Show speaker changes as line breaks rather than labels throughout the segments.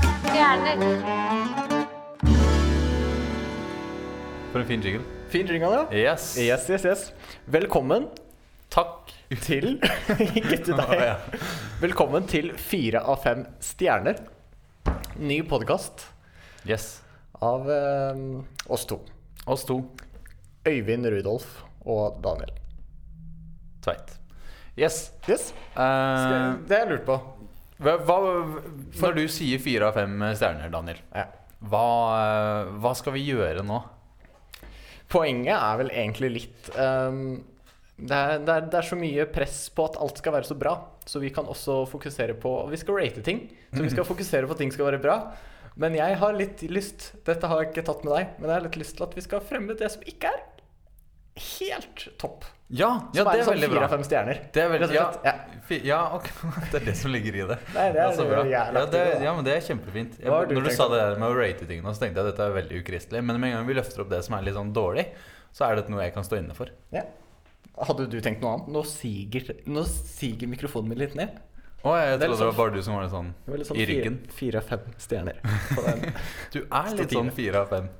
stjerner.
For en fin jingle.
Fin jingle, ja.
Yes.
Yes, yes, yes. Velkommen
Takk.
til Ikke til deg.
Ja.
Velkommen til Fire av fem stjerner. Ny podkast
Yes.
av eh, oss to.
Oss to.
Øyvind Rudolf og Daniel.
Tveit. Yes.
Yes,
Eh,
det har jeg lurt på.
hva, hva, når du sier fire av fem stjerner, Daniel,
Ja.
hva, eh, hva skal vi gjøre nå?
Poenget er vel egentlig litt ehm, det, er, det, er, det er så mye press på at alt skal være så bra, så vi kan også fokusere på Vi skal rate ting, så vi skal fokusere på at ting skal være bra. Men jeg har litt lyst Dette har jeg ikke tatt med deg, men jeg har litt lyst til at vi skal fremme det som ikke er helt topp.
Ja, ja det
Som
er
sånn
veldig
fire
bra.
av fem stjerner.
Det er veldig,
Rett og slett,
ja, fi- ja ok. det er det som ligger i det.
Nei, det er
så
jo
bra.
jævla
Ja, det,
aktivt, da.
ja, men det er kjempefint. Jeg,
Hva har du
når du
tenkt
sa
da?
det der med å rate ting nå, så tenkte jeg at dette er veldig ukristelig. Men med en gang vi løfter opp det som er litt sånn dårlig, så er dette noe jeg kan stå inne for.
Ja. Hadde du tenkt noe annet? Nå siger, nå siger mikrofonen min litt ned.
Å, jeg
Det er
trodde
litt
det
sånn-
var bare du som var litt sånn
Det var litt sånn
i ryggen.
fire- Fire av fem stjerner. På den.
Du er litt
Stativet.
sånn fire av fem.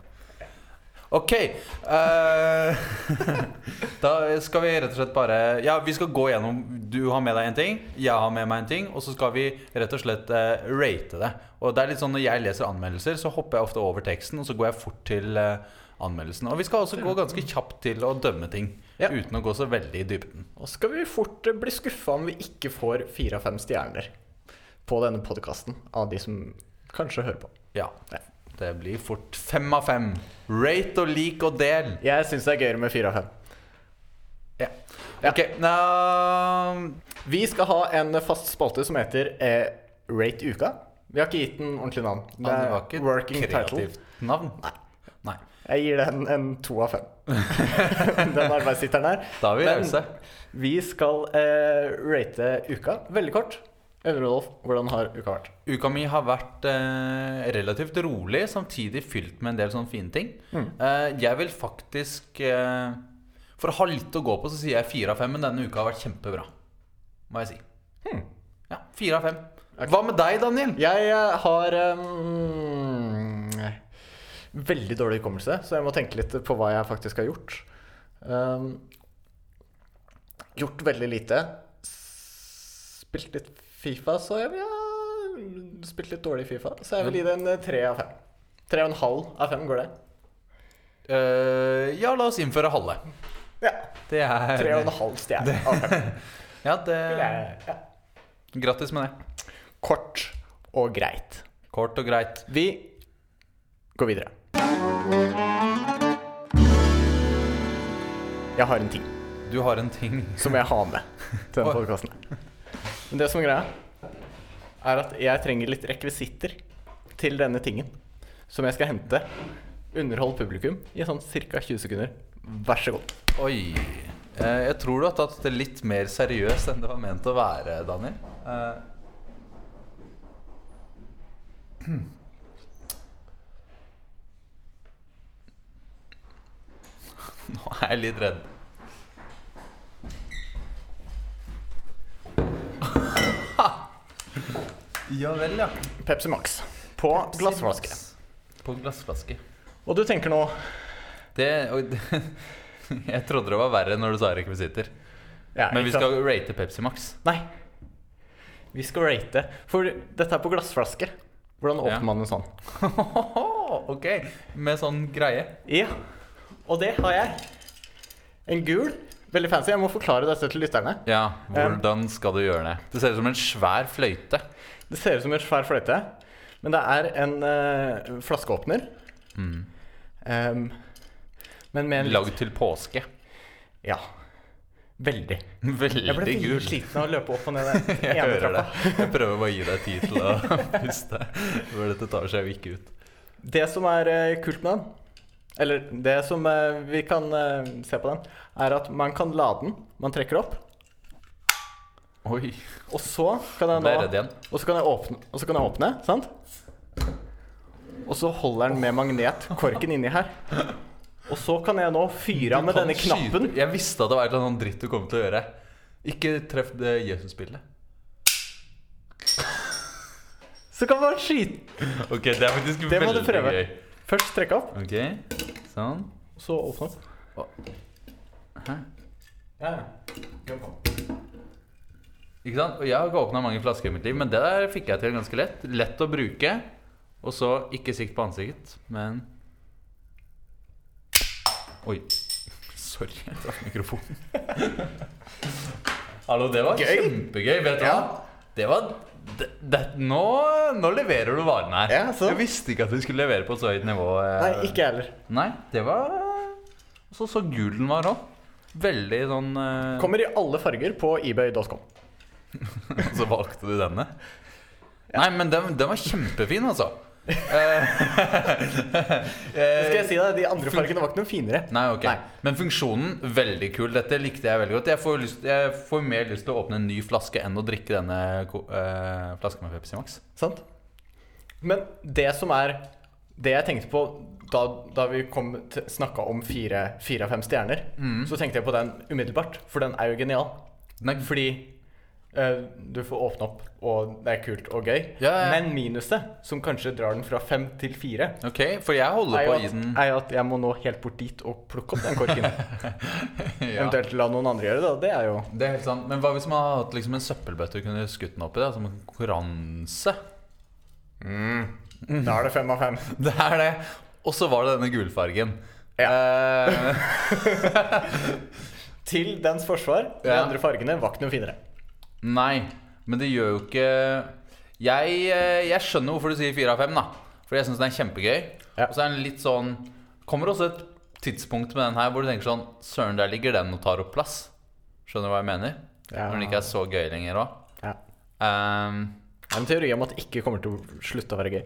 Ok. eh, da skal vi rett og slett bare Ja, vi skal gå gjennom Du har med deg en ting, jeg har med meg en ting, og så skal vi rett og slett eh, rate det. Og det er litt sånn Når jeg leser anmeldelser, så hopper jeg ofte over teksten, og så går jeg fort til eh, anmeldelsen. Og vi skal også gå ganske kjapt til å dømme ting,
Ja.
uten å gå så veldig i dybden.
Og så skal vi fort eh, bli skuffa om vi ikke får fire av fem stjerner på denne podkasten av de som kanskje hører på.
Ja.
Ja.
Det blir fort fem av fem. Rate og lik og del.
Jeg syns det er gøyere med fire av fem.
Ja.
Ja.
Ok. ehm, nå-
Vi skal ha en fast spalte som heter eh, Rate uka. Vi har ikke gitt den ordentlig navn.
Ja, det var ikke et
working title.
kreativt navn. Nei.
Jeg gir den en to av fem. den arbeidshitteren her.
Da er vi
Men
rause.
Vi skal eh, rate uka veldig kort. Øyvind Rolf, hvordan har uka vært?
Uka mi har vært eh, relativt rolig, samtidig fylt med en del sånne fine ting.
Mm.
Eh, jeg vil faktisk eh, For å ha litt å gå på, så sier jeg fire av fem, men denne uka har vært kjempebra. Må jeg si.
Hmm.
Ja, fire av fem. Hva med deg, Daniel?
Jeg eh, har um, veldig dårlig hukommelse, så jeg må tenke litt på hva jeg faktisk har gjort. Um, gjort veldig lite. Spilt litt Fifa, så jeg vil ja, Spilt litt dårlig Fifa, så jeg vil gi det en eh, tre av fem. Tre og en halv av fem, går det?
Eh, ja, la oss innføre halve.
Ja.
Det er
Tre og en halv stjerne av fem.
Ja, det
Ja.
Grattis med det.
Kort og greit.
Kort og greit.
Vi går videre. Jeg har en ting.
Du har en ting
som jeg har med til denne
Oi.
podkasten. Men det som er greia, er at jeg trenger litt rekvisitter til denne tingen. Som jeg skal hente. Underhold publikum i sånn ca. 20 sekunder. Vær så god.
Oi. Eh, jeg tror du har tatt det litt mer seriøst enn det var ment å være, Daniel. Eh. Nå er jeg litt redd. ja vel, ja.
Pepsi Max på glassflaske.
På glassflaske.
Og du tenker nå
Det, og, jeg trodde det var verre når du sa rekvisitter.
ja,
Men vi
ikke sant?
skal rate Pepsi Max.
Nei. Vi skal rate. For dette er på glassflaske. Hvordan åpner
Ja.
man en sånn?
ok, med sånn greie.
Ja. Og det har jeg. En gul. Veldig fancy. Jeg må forklare dette til lytterne.
Ja,
Um,
hvordan skal du gjøre det? Det ser ut som en svær fløyte.
Det ser ut som en svær fløyte, men det er en eh, flaskeåpner.
Mm.
Em, men med en litt-
Lagd til påske.
Ja. Veldig. Jeg ble
Veldig
veldig
gul.
sliten av å løpe opp og ned den
Jeg
ene
hører det.
trappa.
Jeg prøver bare å gi deg tid til å puste. For dette tar seg jo ikke ut.
Det. som er eh, kult med den, eller det som eh, vi kan eh, se på den, er at man kan lade den. Man trekker opp,
Oi.
og så kan jeg
Ble
nå
jeg redd igjen.
Og så kan jeg åpne, og så kan jeg åpne sant? Og så holder den med magnet korken inni her. Og så kan jeg nå fyre av med
Du kan
denne
skyte.
knappen.
Jeg visste at det var et eller annet dritt du kom til å gjøre. eh, Ikke treff det Jesusbildet.
Så kan man skyte
Ok, det er faktisk
Det må du
veldig
prøve.
gøy.
Først trekke opp,
Ok, sånn.
så åpne opp.
Hæ?
Ja, ja.
Ikke sant? Og jeg har ikke åpna mange flasker i mitt liv, men det der fikk jeg til ganske lett. Lett å bruke. Og så ikke sikt på ansiktet, men Oi. Sorry, jeg traff mikrofonen. Hallo, det var
Gøy.
kjempegøy. Vet du
Ja.
hva? Det var det, det, nå, nå leverer du varen her.
Ja, så.
Jeg visste ikke at du skulle levere på et så høyt nivå. eh.
Nei, ikke jeg heller.
Nei, det var Så så gul den var òg. Veldig sånn eh,
Kommer i alle farger på ebay.com.
Og så valgte du denne? Nei, men den, den var kjempefin, altså.
Eh, Skal jeg si deg, De andre fargene var ikke noe finere.
Nei, ok.
Nei.
Men funksjonen, veldig kul. Dette likte jeg veldig godt. Jeg får, lyst, jeg får mer lyst til å åpne en ny flaske enn å drikke denne ko- eh, flasken med Pepsi Max.
Sant? Men det som er Det jeg tenkte på da, da vi snakka om fire fire av fem stjerner,
Mm.
så tenkte jeg på den umiddelbart, for den er jo genial.
Den er,
Fordi eh, du får åpne opp, og det er kult og gøy.
Ja, ja, ja.
Men minuset, som kanskje drar den fra fem til fire,
ok, for jeg holder
er
på
jo,
å gi
at,
den
er jo at jeg må nå helt bort dit og plukke opp den korken.
ja.
Eventuelt la noen andre gjøre det. da. Det er jo
Det er helt sant. Men hva hvis man hadde hatt liksom en søppelbøtte og kunne skutt den opp i? Det, som en konkurranse? Mm.
Da er det fem av fem.
Det er det. Og så var det denne gulfargen.
Ja.
Eh,
Til dens forsvar. De
Ja.
andre fargene var ikke noe finere.
Nei, men det gjør jo ikke Jeg, eh, jeg skjønner hvorfor du sier fire av fem, da. For jeg syns den er kjempegøy.
Ja.
Og så er den litt sånn Kommer også et tidspunkt med den her hvor du tenker sånn Søren, der ligger den og tar opp plass. Skjønner du hva jeg mener?
Ja.
Når den ikke er så gøy lenger Ehm, òg.
Ja. Det er en teori om at det ikke kommer til å slutte å være gøy.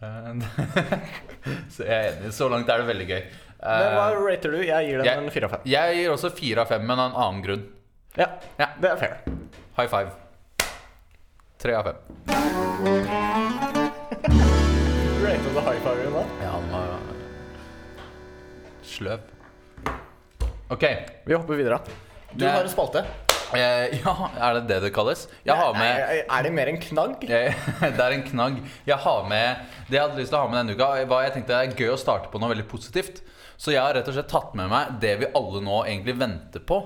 så jeg er enig. Så langt er det veldig gøy.
Men hva
Eh,
rater du? Jeg gir den
jeg-
en fire av fem.
jeg gir også fire av fem, men av en annen grunn.
Ja,
Ja.
det er fair.
High five. Tre av fem.
Rater du high five da?
Ja, han var sløv. Ok. eh,
Vi hopper videre. Du
Det-
har en spalte.
Eh, ja, er det det det kalles? Jeg har med
Er, er det mer en knagg?
jeg, Det er en knagg. Jeg har med Det jeg hadde lyst til å ha med denne uka, var jeg tenkte det er gøy å starte på noe veldig positivt. Så jeg har rett og slett tatt med meg det vi alle nå egentlig venter på.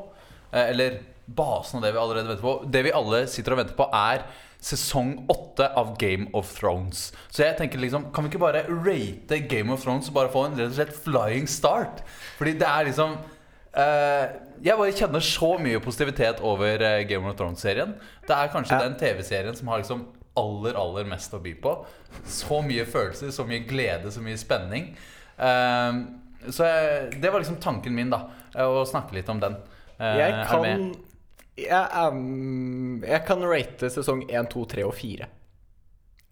Eh, eller basen av det vi allerede venter på. Det vi alle sitter og venter på, er sesong åtte av Game of Thrones. Så jeg tenker liksom Kan vi ikke bare rate Game of Thrones og bare få en rett og slett flying start? Fordi det er liksom Eh, jeg bare kjenner så mye positivitet over eh, Game of Thrones-serien. Det er kanskje
Ja.
den TV-serien som har liksom aller, aller mest å by på. Så mye følelser, så mye glede, så mye spenning. Eh, så jeg, det var liksom tanken min, da. eh, Å snakke litt om den. Eh,
Jeg
er du
kan
med?
jeg, um, jeg kan rate sesong 1, 2, 3 og 4.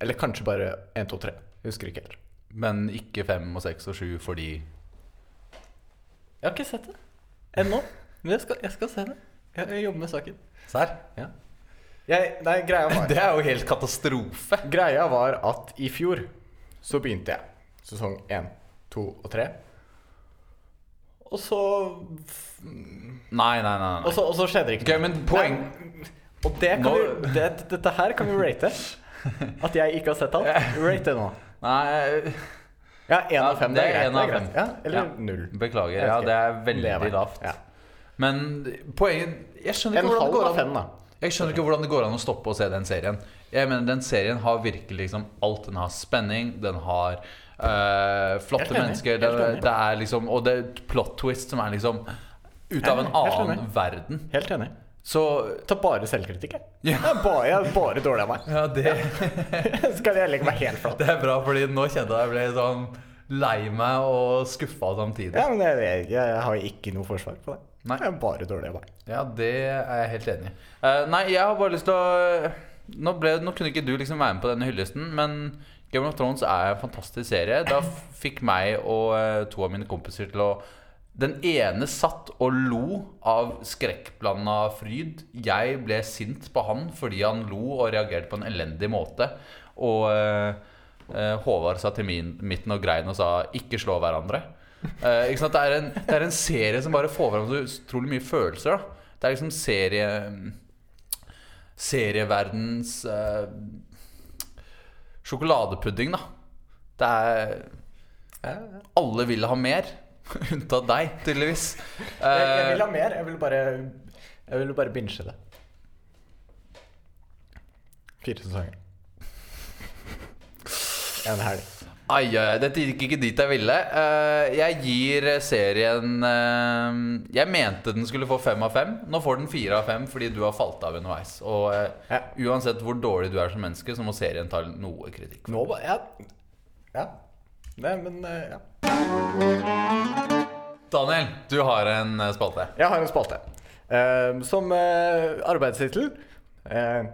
Eller kanskje bare 1, 2, 3. Husker ikke helt.
Men ikke fem og seks og sju fordi
Jeg har ikke sett det ennå. Men jeg skal, jeg skal se det. Jeg, jeg jobber med saken.
Serr?
Ja. Jeg, nei, greia var,
Det er jo helt katastrofe.
greia var at i fjor så begynte jeg sesong 1, 2 og 3. Og så
Nei, nei, nei.
Og
nei.
så, og så skjedde det ikke
Ok, men poeng
Nei, Og det kan
Nå-
vi, det, dette her kan vi rate. At jeg ikke har sett alt. Rate det nå.
Nei,
Ja, én
Ja,
av fem.
det
Det
er
er greit.
en
Det
av
er greit.
fem.
Ja, eller
Ja.
null.
beklager.
Jeg
Ja,
vet ikke.
det er
Det er
veldig
meg.
lavt.
Ja.
Men poenget Jeg skjønner
En
ikke hvordan det
halv
går
av
an.
fem, da.
Jeg skjønner ikke hvordan det går an å stoppe å se den serien. Jeg mener, Den serien har virkelig liksom alt. Den har spenning, den har eh, flotte
Helt enig,
mennesker.
helt
Det,
enig.
det er liksom Og det er et plot twist som er liksom ut
Ja,
av en
helt
annen
enig.
verden.
Helt enig.
Så
Ta bare selvkritikk, jeg.
Ja.
Jeg er bare, jeg er bare dårlig av meg.
Ja, det,
Skal jeg legge meg helt flat?
det er bra, fordi nå kjente jeg jeg ble sånn lei meg og skuffa samtidig.
Ja, men jeg, jeg, jeg har ikke noe forsvar på det.
Nei.
Jeg er bare dårlig av meg.
Ja, det er jeg helt enig i. Eh, nei, jeg har bare lyst til å nå, ble, nå kunne ikke du liksom være med på denne hyllesten, men Game of Thrones er en fantastisk serie. Da f- fikk meg og eh, to av mine kompiser til å Den ene satt og lo av skrekkblanda fryd. Jeg ble sint på han fordi han lo og reagerte på en elendig måte. Og eh, eh, Håvard satt i min, midten og grein og sa 'ikke slå hverandre'. Eh, ikke sant? Det, er en, det er en serie som bare får fram så utrolig mye følelser. Da. Det er liksom serie serieverdens mm, eh, sjokoladepudding, da. Det er
Ja, ja.
Alle vil ha mer. Unntatt deg, tydeligvis.
Jeg, jeg
Eh,
vil ha mer. Jeg vil bare Jeg vil bare binge det. Fire sesonger. En helg.
Ai, ai, ai, dette gikk ikke dit jeg ville. Eh, jeg gir serien eh, Jeg mente den skulle få fem av fem. Nå får den fire av fem fordi du har falt av underveis. Og eh,
Ja.
uansett hvor dårlig du er som menneske, så må serien ta noe kritikk.
Nå ba- Ja. ja. Nei, men eh, ja.
Daniel, du har en eh, spalte.
Jeg har en spalte. Eh, som uh, arbeidstittel eh,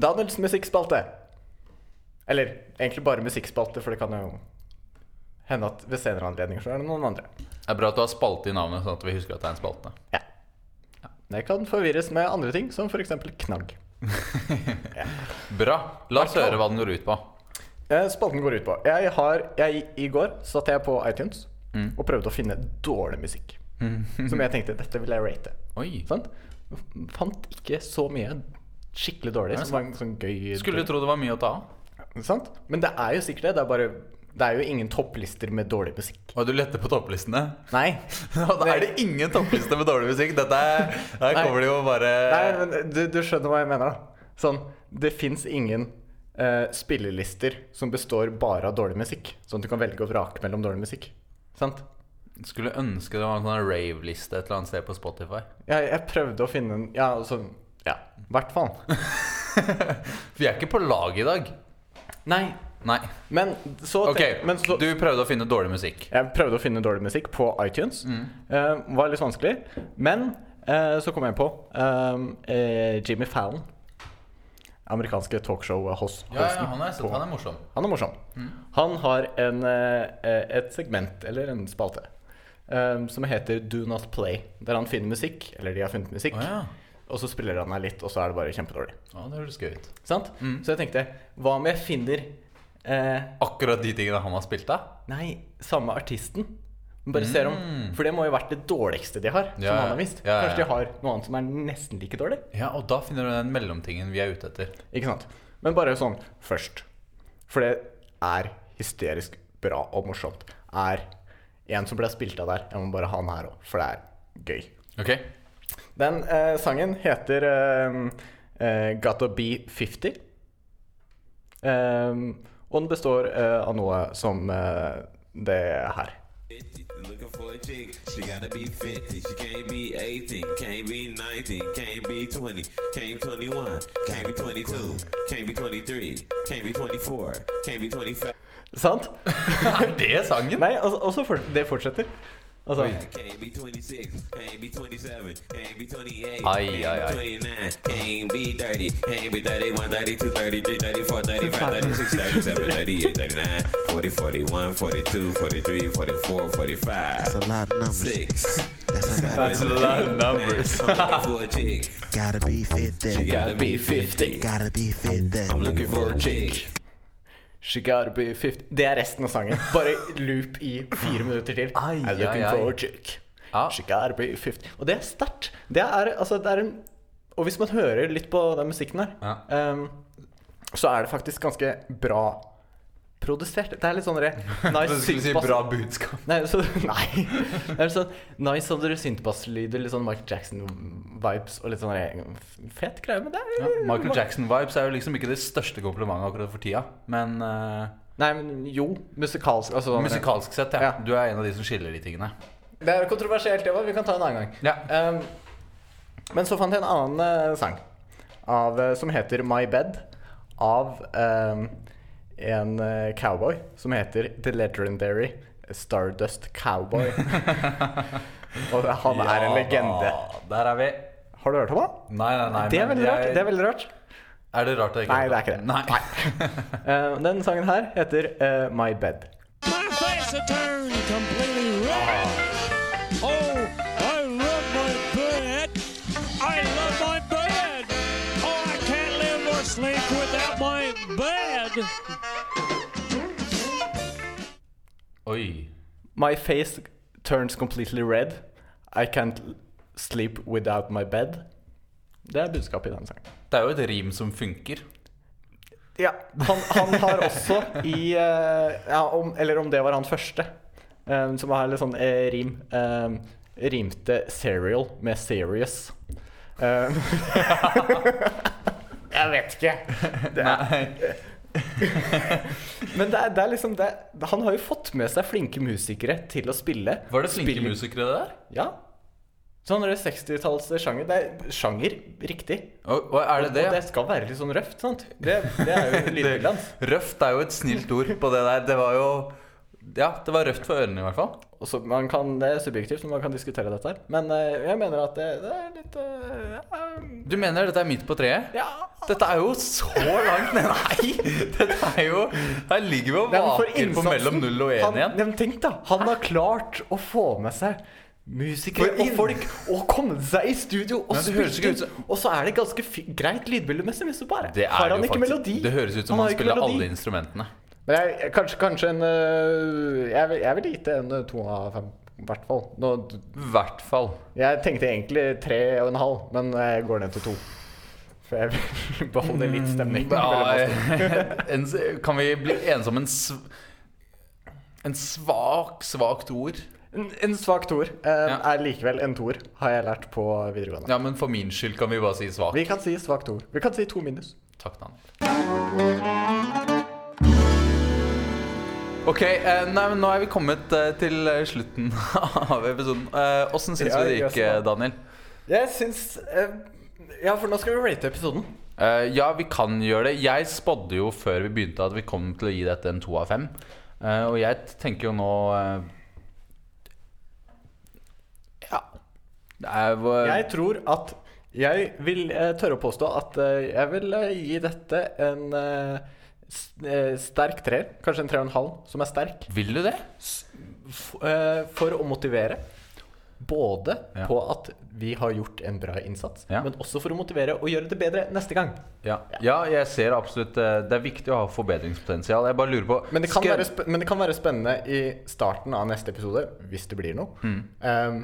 Daniels musikkspalte. Eller egentlig bare musikkspalte, for det kan jo hende at ved senere anledninger så er det noen andre.
Det er bra at du har spalte i navnet, sånn at vi husker at det er en spalte.
Ja. Det kan forvirres med andre ting, som f.eks. knagg.
Bra. La oss høre hva den går ut på.
Eh, Spalten går ut på jeg har, jeg, I går satt jeg på iTunes
Mm.
og prøvde å finne dårlig musikk. som jeg tenkte dette vil jeg rate.
Oi.
Sant? F- Fant ikke så mye skikkelig dårlig. Som var en sånn gøy
Skulle du tro det var mye å ta av?
Sant? Men det er jo sikkert det. Det er, bare, det er jo ingen topplister med dårlig musikk.
Og du letter på topplistene?
Nei.
Ja, da er det ingen toppliste med dårlig musikk. Dette er, her
Nei.
kommer det jo bare
Nei, men du, du skjønner hva jeg mener, da. Sånn, det fins ingen eh, spillelister som består bare av dårlig musikk. Sånn at du kan velge og vrake mellom dårlig musikk. Sant?
Skulle ønske det var en sånn rave-liste et eller annet sted på Spotify.
Jeg, jeg prøvde å finne en Ja, altså Ja, i hvert fall.
Vi er ikke på lag i dag.
Nei.
Nei.
Men så,
Ok,
tenk- men så
du prøvde å finne dårlig musikk.
Jeg prøvde å finne dårlig musikk på iTunes.
Mm.
Eh, var litt vanskelig. Men eh, så kom jeg på eh, eh, Jimmy Fallon. Amerikanske talkshow-hosten.
Ja, ja, han Mm. er, han er morsom.
Han er morsom. Han har en, eh, eh, et segment, eller en spalte, eh, som heter Do Not Play. Der han finner musikk, eller de har funnet musikk,
Å ja.
og så spiller han her litt, og så er det bare kjempedårlig.
ja. Det høres gøy ut.
Sant?
Mm.
Så jeg tenkte, hva om jeg finner eh,
Akkurat de tingene han har spilt av?
Nei, samme artisten. Men Bare ser om For det må jo vært det dårligste de har.
Mm. Ja,
som
ja.
han har vist
Ja, ja, ja.
Kanskje de har noe annet som er nesten like dårlig.
Ja, og da finner du den mellomtingen vi er ute etter.
Ikke sant? Men bare sånn først. For det er hysterisk bra og morsomt. Er en som ble spilt av der. Jeg må bare ha han her òg, for det er gøy.
Ok?
Den eh, sangen heter eh, eh, Gotta Be 50. Eh, og den består eh, av noe som eh, det her.
Looking for a chick, she gotta be 50. She can't be 18, can't be 19, can't be 20, can't be 21, can't be 22, can't be 23, can't be 24, can't be 25,
Sant?
Er det sangen?
Nei, altså, også for, det fortsetter. Altså,
can't be 26, can't be 27, can't be 28,
Ai,
can't
ai, ai.
be 29, can't be 30, can't be 31, 32, 33, 34, 35, 36, 37, 38, 39, 40, 41, 42, 43, 44, 45,
That's a lot of numbers.
6.
That's a lot.
That's a lot of numbers.
I'm looking for a chick.
Gotta be fit
She
then.
gotta be 50.
Gotta be fit
I'm
then.
looking for a chick.
She gotta be 50 Det er resten av sangen. Bare loop i fire minutter til.
Ai,
I'm looking
ai, ai.
for a chick.
Ja.
She gotta be 50 Og det er sterkt. Det er altså det er en Og hvis man hører litt på den musikken her, ehm, så er det faktisk ganske bra produsert. Det er litt sånn der
Du
nice
skulle si
synthbass-
bra budskap.
Nei, så, nei. Det er sånn nice sånn dere synthbasslyder, litt sånn Michael Jackson-vibes og litt sånn der- fet greie, men det er
Michael Jackson-vibes er jo liksom ikke det største komplimentet akkurat for tida, men eh,
Nei, men jo. Musikalsk. Altså, sånn-
musikalsk sett, ja.
Ja.
Du er en av de som skiller de tingene.
Det er kontroversielt, det var. Vi kan ta en annen gang.
Ja.
Ehm, men så fant jeg en annen eh, sang av, eh, som heter My Bed, av ehm, en eh, cowboy som heter The Legendary Stardust Cowboy. Og han er en
Ja,
legende.
Der er vi.
Har du hørt om han?
Nei, nei, nei.
Det er
men
veldig rart.
jeg-
Det er veldig rart.
Er det rart at jeg
Nei, det er ikke det.
Nei.
Ehm, den sangen her heter eh, My Bed.
My face had turned completely red. Oh, I love my bed. I love my bed. Oh, I can't live or sleep without my bed.
Oi.
My face turns completely red. I can't sleep without my bed. Det er budskapet i den sangen.
Det er jo et rim som funker.
Ja, han, han har også i eh, ja, om, Eller om det var han første, eh, som har litt sånn eh, rim eh, Rimte serial med serious. Eh, jeg vet ikke. Det er,
Nei.
men det er, det er liksom det, Han har jo fått med seg flinke musikere til å spille.
Var det flinke
Spilling.
musikere der?
Ja. Sånn er det 60-tallssjanger. Det er sjanger, riktig.
Og, og er det det?
Og det skal være litt sånn røft, sant? Det, det er jo lydbildet hans.
Røft er jo et snilt ord på det der. Det var jo Ja, det var røft for ørene i hvert fall.
Og så man kan, det er subjektivt, men man kan diskutere dette her. Men eh, jeg mener at det, det er litt eh, eh,
Du mener dette er midt på treet?
Ja.
Dette er jo så langt ned Nei! Dette er jo Her ligger vi og
Nei, men for
vaker på
innsatsen.
mellom null og én
han,
igjen.
nei, men Tenk, da. Han har klart å få med seg musikere
For
og
inn-
folk og komme seg i studio og
Men det høres ikke
spille.
ut som-
Og så er det ganske fi greit lydbildemessig, men så bare
Det, er
har han
jo
ikke
faktisk,
melodi.
det høres ut som
har
han
ikke
spiller
melodi.
alle instrumentene.
Men jeg, jeg- kanskje, kanskje en eh, jeg, vil- jeg vil gitt det en eh, to av fem, i hvert fall. Nå,
I hvert fall.
jeg tenkte egentlig tre og en halv, men jeg går ned til to. For jeg vil beholde litt stemning. mellom oss.
Ja, en, s- kan vi bli enige om en, sv en svak, svakt ord?
En, en svak toer eh,
Ja.
er likevel en toer, har jeg lært på videregående.
Ja, men for min skyld kan vi bare si svak.
Vi kan si svak toer. Vi kan si to minus.
Takk, Daniel. Ok, eh, nei, men nå er vi kommet eh, til eh, slutten av episoden. Eh, Åssen syns
Ja,
vi det
jeg
gikk,
synes
eh,
det.
Daniel?
Jeg syns eh, Ja, for nå skal vi rate episoden.
Eh, ja, vi kan gjøre det. Jeg spådde jo før vi begynte at vi kom til å gi dette en to av fem. Eh, og jeg t- tenker jo nå eh, Ja. Eh, Det er hvor-
Jeg tror at jeg vil eh, tørre å påstå at eh, jeg vil eh, gi dette en eh, s eh, sterk treer. Kanskje en tre og en halv, som er sterk.
Vil du det?
F eh, for å motivere. Både
Ja.
på at vi har gjort en bra innsats,
Ja.
men også for å motivere og gjøre det bedre neste gang.
Ja, ja jeg ser absolutt eh, Det er viktig å ha forbedringspotensial. Jeg bare lurer på
Men det, kan
skal-
være sp men det kan være spennende i starten av neste episode, hvis det blir noe, um,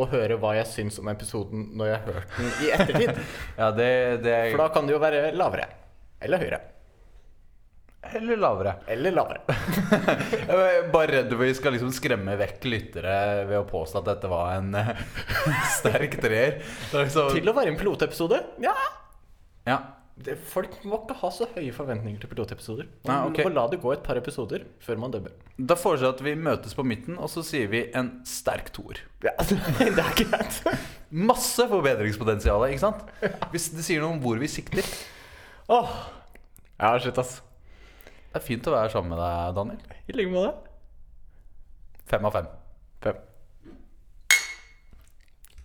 å høre hva jeg syns om episoden når jeg har hørt den i ettertid.
Ja, det, det er
For da kan det jo være lavere. Eller høyere.
Eller lavere.
Eller lavere.
Jeg er bare redd vi skal liksom skremme vekk lyttere ved å påstå at dette var en eh, sterk treer. Det er liksom-
Til å være en pilotepisode? Ja.
Ja.
Det, folk må ikke ha så høye forventninger til pilotepisoder. Man
Nei, ok.
må la det gå et par episoder før man dømmer.
Da foreslår jeg at vi møtes på midten, og så sier vi en sterk toer.
Ja, det er greit.
Masse forbedringspotensial, ikke sant? Hvis det sier noe om hvor vi sikter. Det
Åh. Ja, shit, ass.
er fint å være sammen med deg, Daniel.
I like måte.
Fem av fem.
Fem.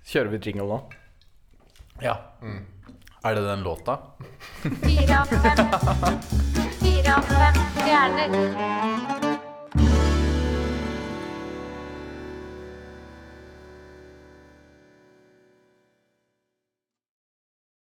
Kjører vi jingle nå?
Ja. Er det den låta?
Fire av fem. Fire av fem stjerner.